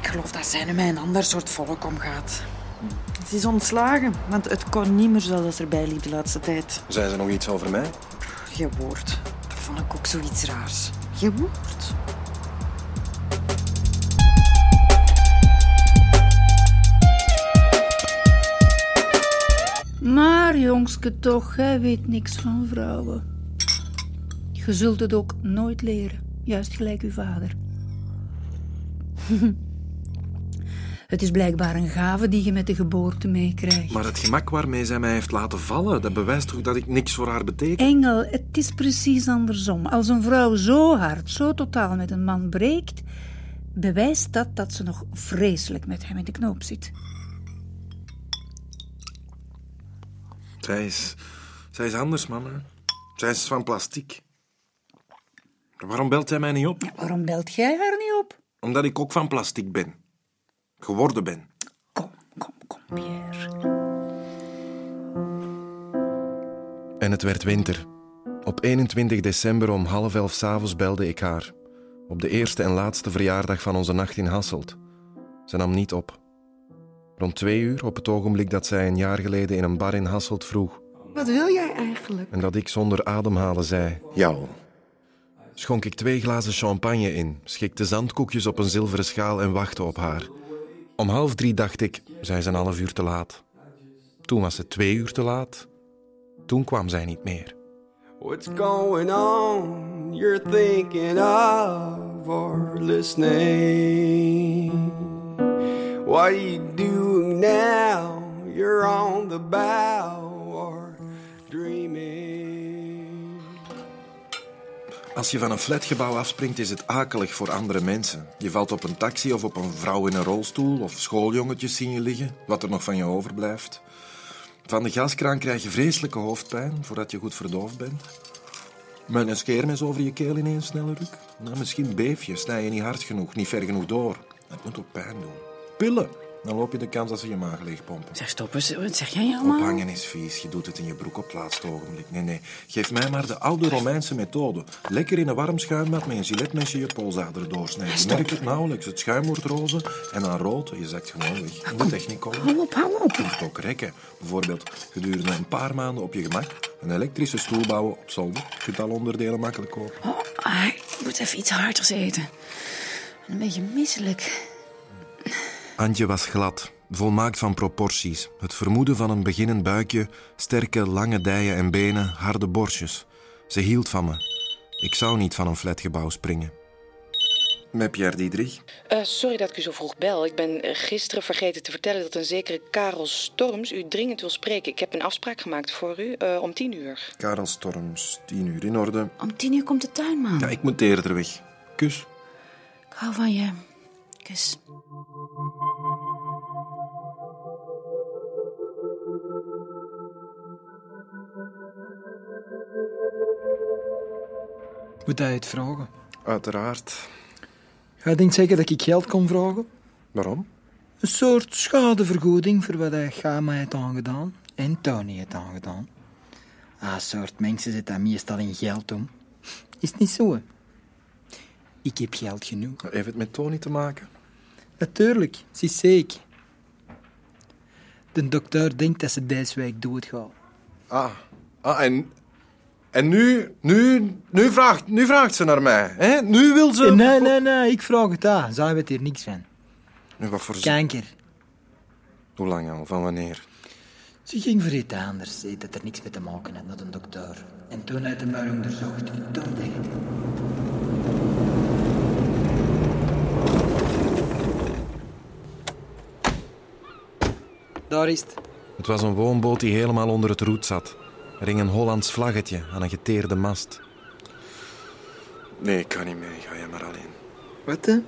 S2: Ik geloof dat zij nu met een ander soort volk omgaat. Ze is ontslagen, want het kon niet meer zoals ze erbij liep de laatste tijd.
S4: Zei ze nog iets over mij?
S2: Je woord. Dat vond ik ook zoiets raars. Je woord.
S13: Maar jongske toch, hij weet niks van vrouwen. Je zult het ook nooit leren, juist gelijk uw vader. het is blijkbaar een gave die je met de geboorte meekrijgt.
S5: Maar het gemak waarmee zij mij heeft laten vallen, dat bewijst toch dat ik niks voor haar betekent.
S13: Engel, het is precies andersom. Als een vrouw zo hard, zo totaal met een man breekt, bewijst dat dat ze nog vreselijk met hem in de knoop zit.
S4: Zij is, zij is anders, mama. Zij is van plastiek. Waarom belt hij mij niet op?
S13: Waarom belt jij haar niet op?
S4: Omdat ik ook van plastic ben. Geworden ben.
S5: En het werd winter. Op 21 december om half elf s'avonds belde ik haar. Op de eerste en laatste verjaardag van onze nacht in Hasselt. Ze nam niet op. Rond twee uur, op het ogenblik dat zij een jaar geleden in een bar in Hasselt vroeg...
S7: Wat wil jij eigenlijk?
S5: en dat ik zonder ademhalen zei... Jou. Schonk ik twee glazen champagne in, schikte zandkoekjes op een zilveren schaal en wachtte op haar. Om half drie dacht ik, zij is een half uur te laat. Toen was ze twee uur te laat. Toen kwam zij niet meer.
S1: What's going on? You're thinking of or listening. What are you doing now? You're on the bow or dreaming.
S4: Als je van een flatgebouw afspringt, is het akelig voor andere mensen. Je valt op een taxi of op een vrouw in een rolstoel of schooljongetjes zien je liggen, wat er nog van je overblijft. Van de gaskraan krijg je vreselijke hoofdpijn voordat je goed verdoofd bent. Met een scheermes over je keel in één snelle ruk. Nou, misschien beef je, snij je niet hard genoeg, niet ver genoeg door. Dat moet ook pijn doen. Pillen, dan loop je de kans dat ze je maag leegpompen.
S23: Zeg, stop eens. Wat zeg jij allemaal?
S4: Ophangen is vies. Je doet het in je broek op het laatste ogenblik. Nee, nee. Geef mij maar de oude Romeinse methode. Lekker in een warm schuimbad met een giletmesje je polsader doorsnijden. Je
S23: Stop.
S4: merkt het nauwelijks. Het schuim wordt roze en dan rood. Je zakt gewoon weg. In de techniek komen.
S23: Hou op, hou
S4: Je
S23: op.
S4: kunt ook rekken. Bijvoorbeeld gedurende een paar maanden op je gemak een elektrische stoel bouwen op zolder. Je kunt alle onderdelen makkelijk kopen.
S23: Ah, ik moet even iets harders eten. Een beetje misselijk.
S5: Antje was glad, volmaakt van proporties. Het vermoeden van een beginnend buikje, sterke lange dijen en benen, harde borstjes. Ze hield van me. Ik zou niet van een flatgebouw springen. Met Pierre Diedrich.
S16: Eh, sorry dat ik u zo vroeg bel. Ik ben eh, gisteren vergeten te vertellen dat een zekere Karel Storms u dringend wil spreken. Ik heb een afspraak gemaakt voor u eh, om tien uur.
S4: Karel Storms, 10 uur in orde.
S23: Om tien uur komt de tuinman.
S4: Ja, ik moet eerder weg. Kus.
S23: Ik hou van je. Kus.
S26: Moet hij het vragen?
S4: Uiteraard.
S26: Hij denkt zeker dat ik geld kon vragen?
S4: Waarom?
S26: Een soort schadevergoeding voor wat hij Gama heeft aangedaan en Tony heeft aangedaan.
S8: Dat soort mensen zit dat meestal in geld om. Is het niet zo? hè? Ik heb geld genoeg.
S4: Heeft het met Tony te maken?
S8: Natuurlijk,
S25: zie zeker. De dokter denkt dat ze Dijswijk doodgaat.
S4: Ah, ah en, en nu, nu, nu, vraagt, nu vraagt ze naar mij. Hè? Nu wil ze...
S25: Nee, nee, nee, ik vraag het aan. Zij weet hier niks van.
S4: Nu, wat voor...
S25: Kanker.
S4: Hoe lang al? Van wanneer?
S8: Ze ging voor iets anders, zei dat er niks mee te maken had met een dokter. En toen uit de muil onderzocht, toen deed het.
S25: Daar is het.
S5: Het was een woonboot die helemaal onder het roet zat. Er hing een Hollands vlaggetje aan een geteerde mast.
S4: Nee, ik kan niet mee. Ga jij maar alleen.
S8: Wat hè?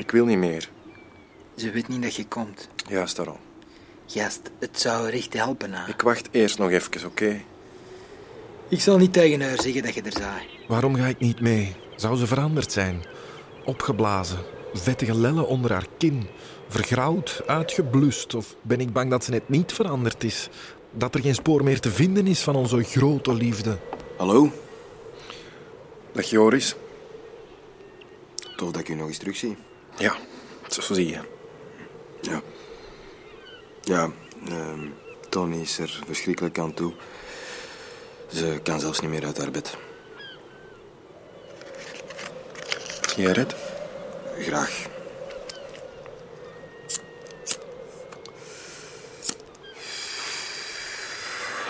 S4: Ik wil niet meer.
S8: Ze weet niet dat je komt.
S4: Juist daarom.
S8: Gast, het zou er echt helpen aan.
S4: Ik wacht eerst nog even, oké?
S8: Ik zal niet tegen haar zeggen dat je er zei.
S5: Waarom ga ik niet mee? Zou ze veranderd zijn? Opgeblazen, vettige lellen onder haar kin, vergrauwd, uitgeblust? Of ben ik bang dat ze net niet veranderd is? Dat er geen spoor meer te vinden is van onze grote liefde?
S4: Hallo? Dag Joris.
S11: Tof dat ik u nog eens terug zie.
S4: Ja, zo zie je.
S11: Ja. Ja, ehm, Tony is er verschrikkelijk aan toe. Ze kan zelfs niet meer uit haar bed.
S4: Jij redt?
S11: Graag.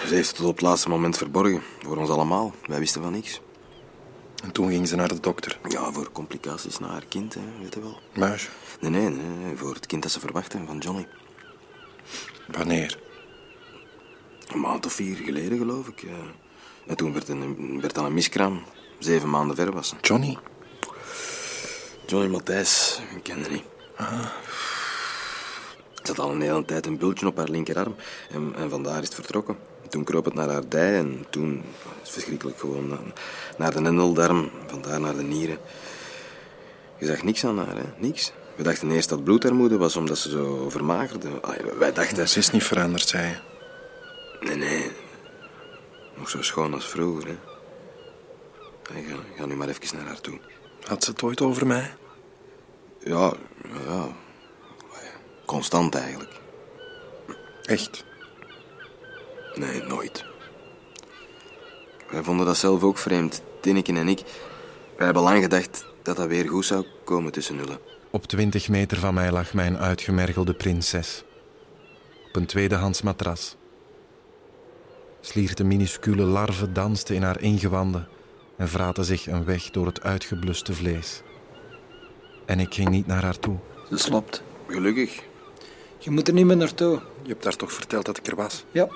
S11: Ze heeft het tot op het laatste moment verborgen. Voor ons allemaal. Wij wisten van niks.
S4: En toen ging ze naar de dokter.
S11: Ja, voor complicaties na haar kind, hè, weet je wel.
S4: Muisje.
S11: Nee, nee, nee, nee, voor het kind dat ze verwachten van Johnny.
S4: Wanneer?
S11: Een maand of vier geleden, geloof ik. eh. En toen werd, een, werd dan een miskraam. Zeven maanden ver was.
S4: Johnny?
S11: Johnny Matthijs, ik ken haar niet. Ze had al een hele tijd een bultje op haar linkerarm. En, en vandaar is het vertrokken. Toen kroop het naar haar dij en toen, het is verschrikkelijk gewoon, na- naar de endeldarm, vandaar naar de nieren. Je zag niks aan haar, hè? niks. We dachten eerst dat bloedarmoede was omdat ze zo vermagerde. Allee, wij dachten...
S4: Ze is niet veranderd, zei je.
S11: Nee, nee. Nog zo schoon als vroeger, hè. Hey, ga, ga nu maar even naar haar toe.
S4: Had ze het ooit over mij?
S11: Ja, ja. Constant eigenlijk.
S4: Echt?
S11: Nee, nooit. Wij vonden dat zelf ook vreemd, Tinneke en ik. Wij hebben lang gedacht dat dat weer goed zou komen tussen nullen.
S5: Op 20 meter van mij lag mijn uitgemergelde prinses. Op een tweedehands matras. Slierte minuscule larven dansten in haar ingewanden en vraten zich een weg door het uitgebluste vlees. En ik ging niet naar haar toe.
S11: Ze slaapt. Gelukkig.
S25: Je moet er niet meer naartoe.
S4: Je hebt haar toch verteld dat ik er was?
S25: Ja.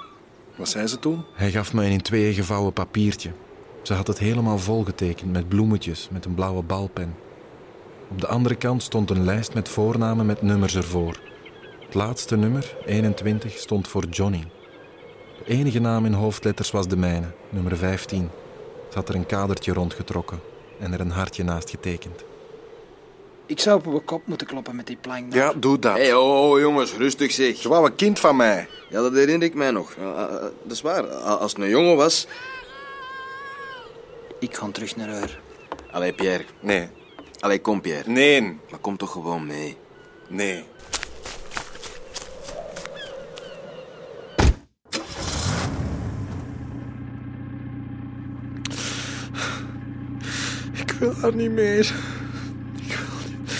S4: Wat zei ze toen?
S5: Hij gaf me een in tweeën gevouwen papiertje. Ze had het helemaal volgetekend met bloemetjes met een blauwe balpen. Op de andere kant stond een lijst met voornamen met nummers ervoor. Het laatste nummer, 21, stond voor Johnny. De enige naam in hoofdletters was de mijne, nummer 15. Ze had er een kadertje rondgetrokken en er een hartje naast getekend.
S25: Ik zou op mijn kop moeten kloppen met die plank.
S4: Ja, doe dat.
S11: Hé, hey, oh, jongens, rustig zeg. Ze
S4: wou een kind van mij.
S11: Ja, dat herinner ik mij nog. Ja, eh, eh, dat is waar. A- Als het een jongen was...
S8: Ik ga terug naar haar.
S11: Allee, Pierre.
S4: Nee.
S11: Allee, kom, Pierre.
S4: Nee.
S11: Maar kom toch gewoon mee.
S4: Nee. Ik wil haar niet meer. Ik wil niet.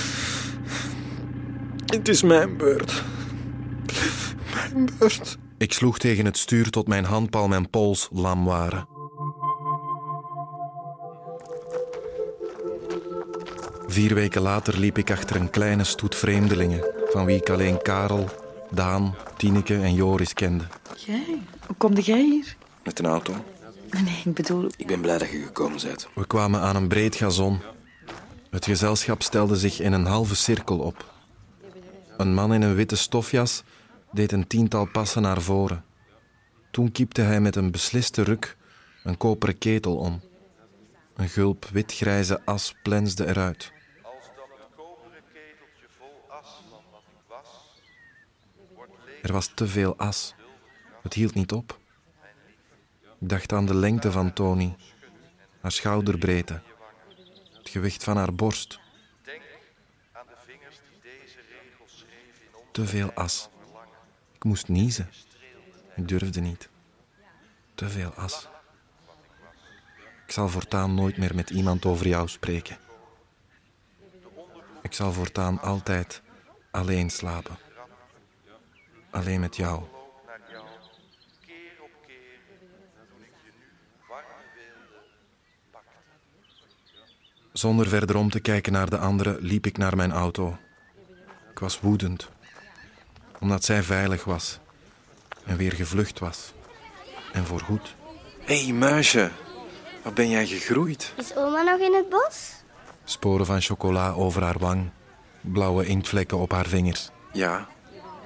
S4: Het is mijn beurt. Mijn beurt.
S5: Ik sloeg tegen het stuur tot mijn handpalm en pols lam waren. Vier weken later liep ik achter een kleine stoet vreemdelingen, van wie ik alleen Karel, Daan, Tineke en Joris kende.
S2: Jij? Hoe komde jij hier?
S11: Met een auto.
S2: Nee, ik bedoel...
S11: Ik ben blij dat je gekomen bent.
S5: We kwamen aan een breed gazon. Het gezelschap stelde zich in een halve cirkel op. Een man in een witte stofjas deed een tiental passen naar voren. Toen kiepte hij met een besliste ruk een koperen ketel om. Een gulp witgrijze as plensde eruit. Er was te veel as. Het hield niet op. dacht aan de lengte van Tony, haar schouderbreedte, het gewicht van haar borst. Te veel as. Ik moest niezen. Ik durfde niet. Te veel as. Ik zal voortaan nooit meer met iemand over jou spreken. Ik zal voortaan altijd alleen slapen. Alleen met jou. Zonder verder om te kijken naar de anderen liep ik naar mijn auto. Ik was woedend, omdat zij veilig was en weer gevlucht was. En voorgoed. Hé, hey, muisje, wat ben jij gegroeid?
S6: Is oma nog in het bos?
S5: Sporen van chocola over haar wang, blauwe inktvlekken op haar vingers.
S11: Ja,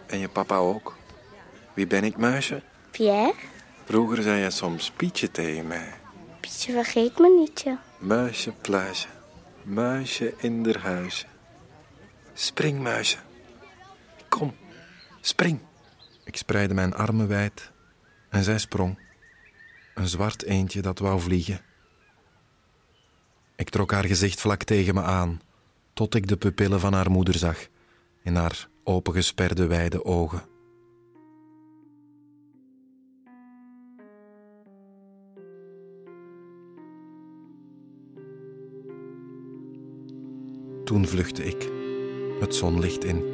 S11: en je papa ook. Wie ben ik, muisje?
S6: Pierre?
S11: Vroeger zei jij soms Pietje tegen mij.
S6: Pietje vergeet me nietje.
S11: Muisje, plaasje, muisje in der huisje. Spring, muisje.
S5: Kom, spring. Ik spreidde mijn armen wijd en zij sprong. Een zwart eendje dat wou vliegen. Ik trok haar gezicht vlak tegen me aan, tot ik de pupillen van haar moeder zag in haar opengesperde wijde ogen. Toen vluchtte ik, het zonlicht in.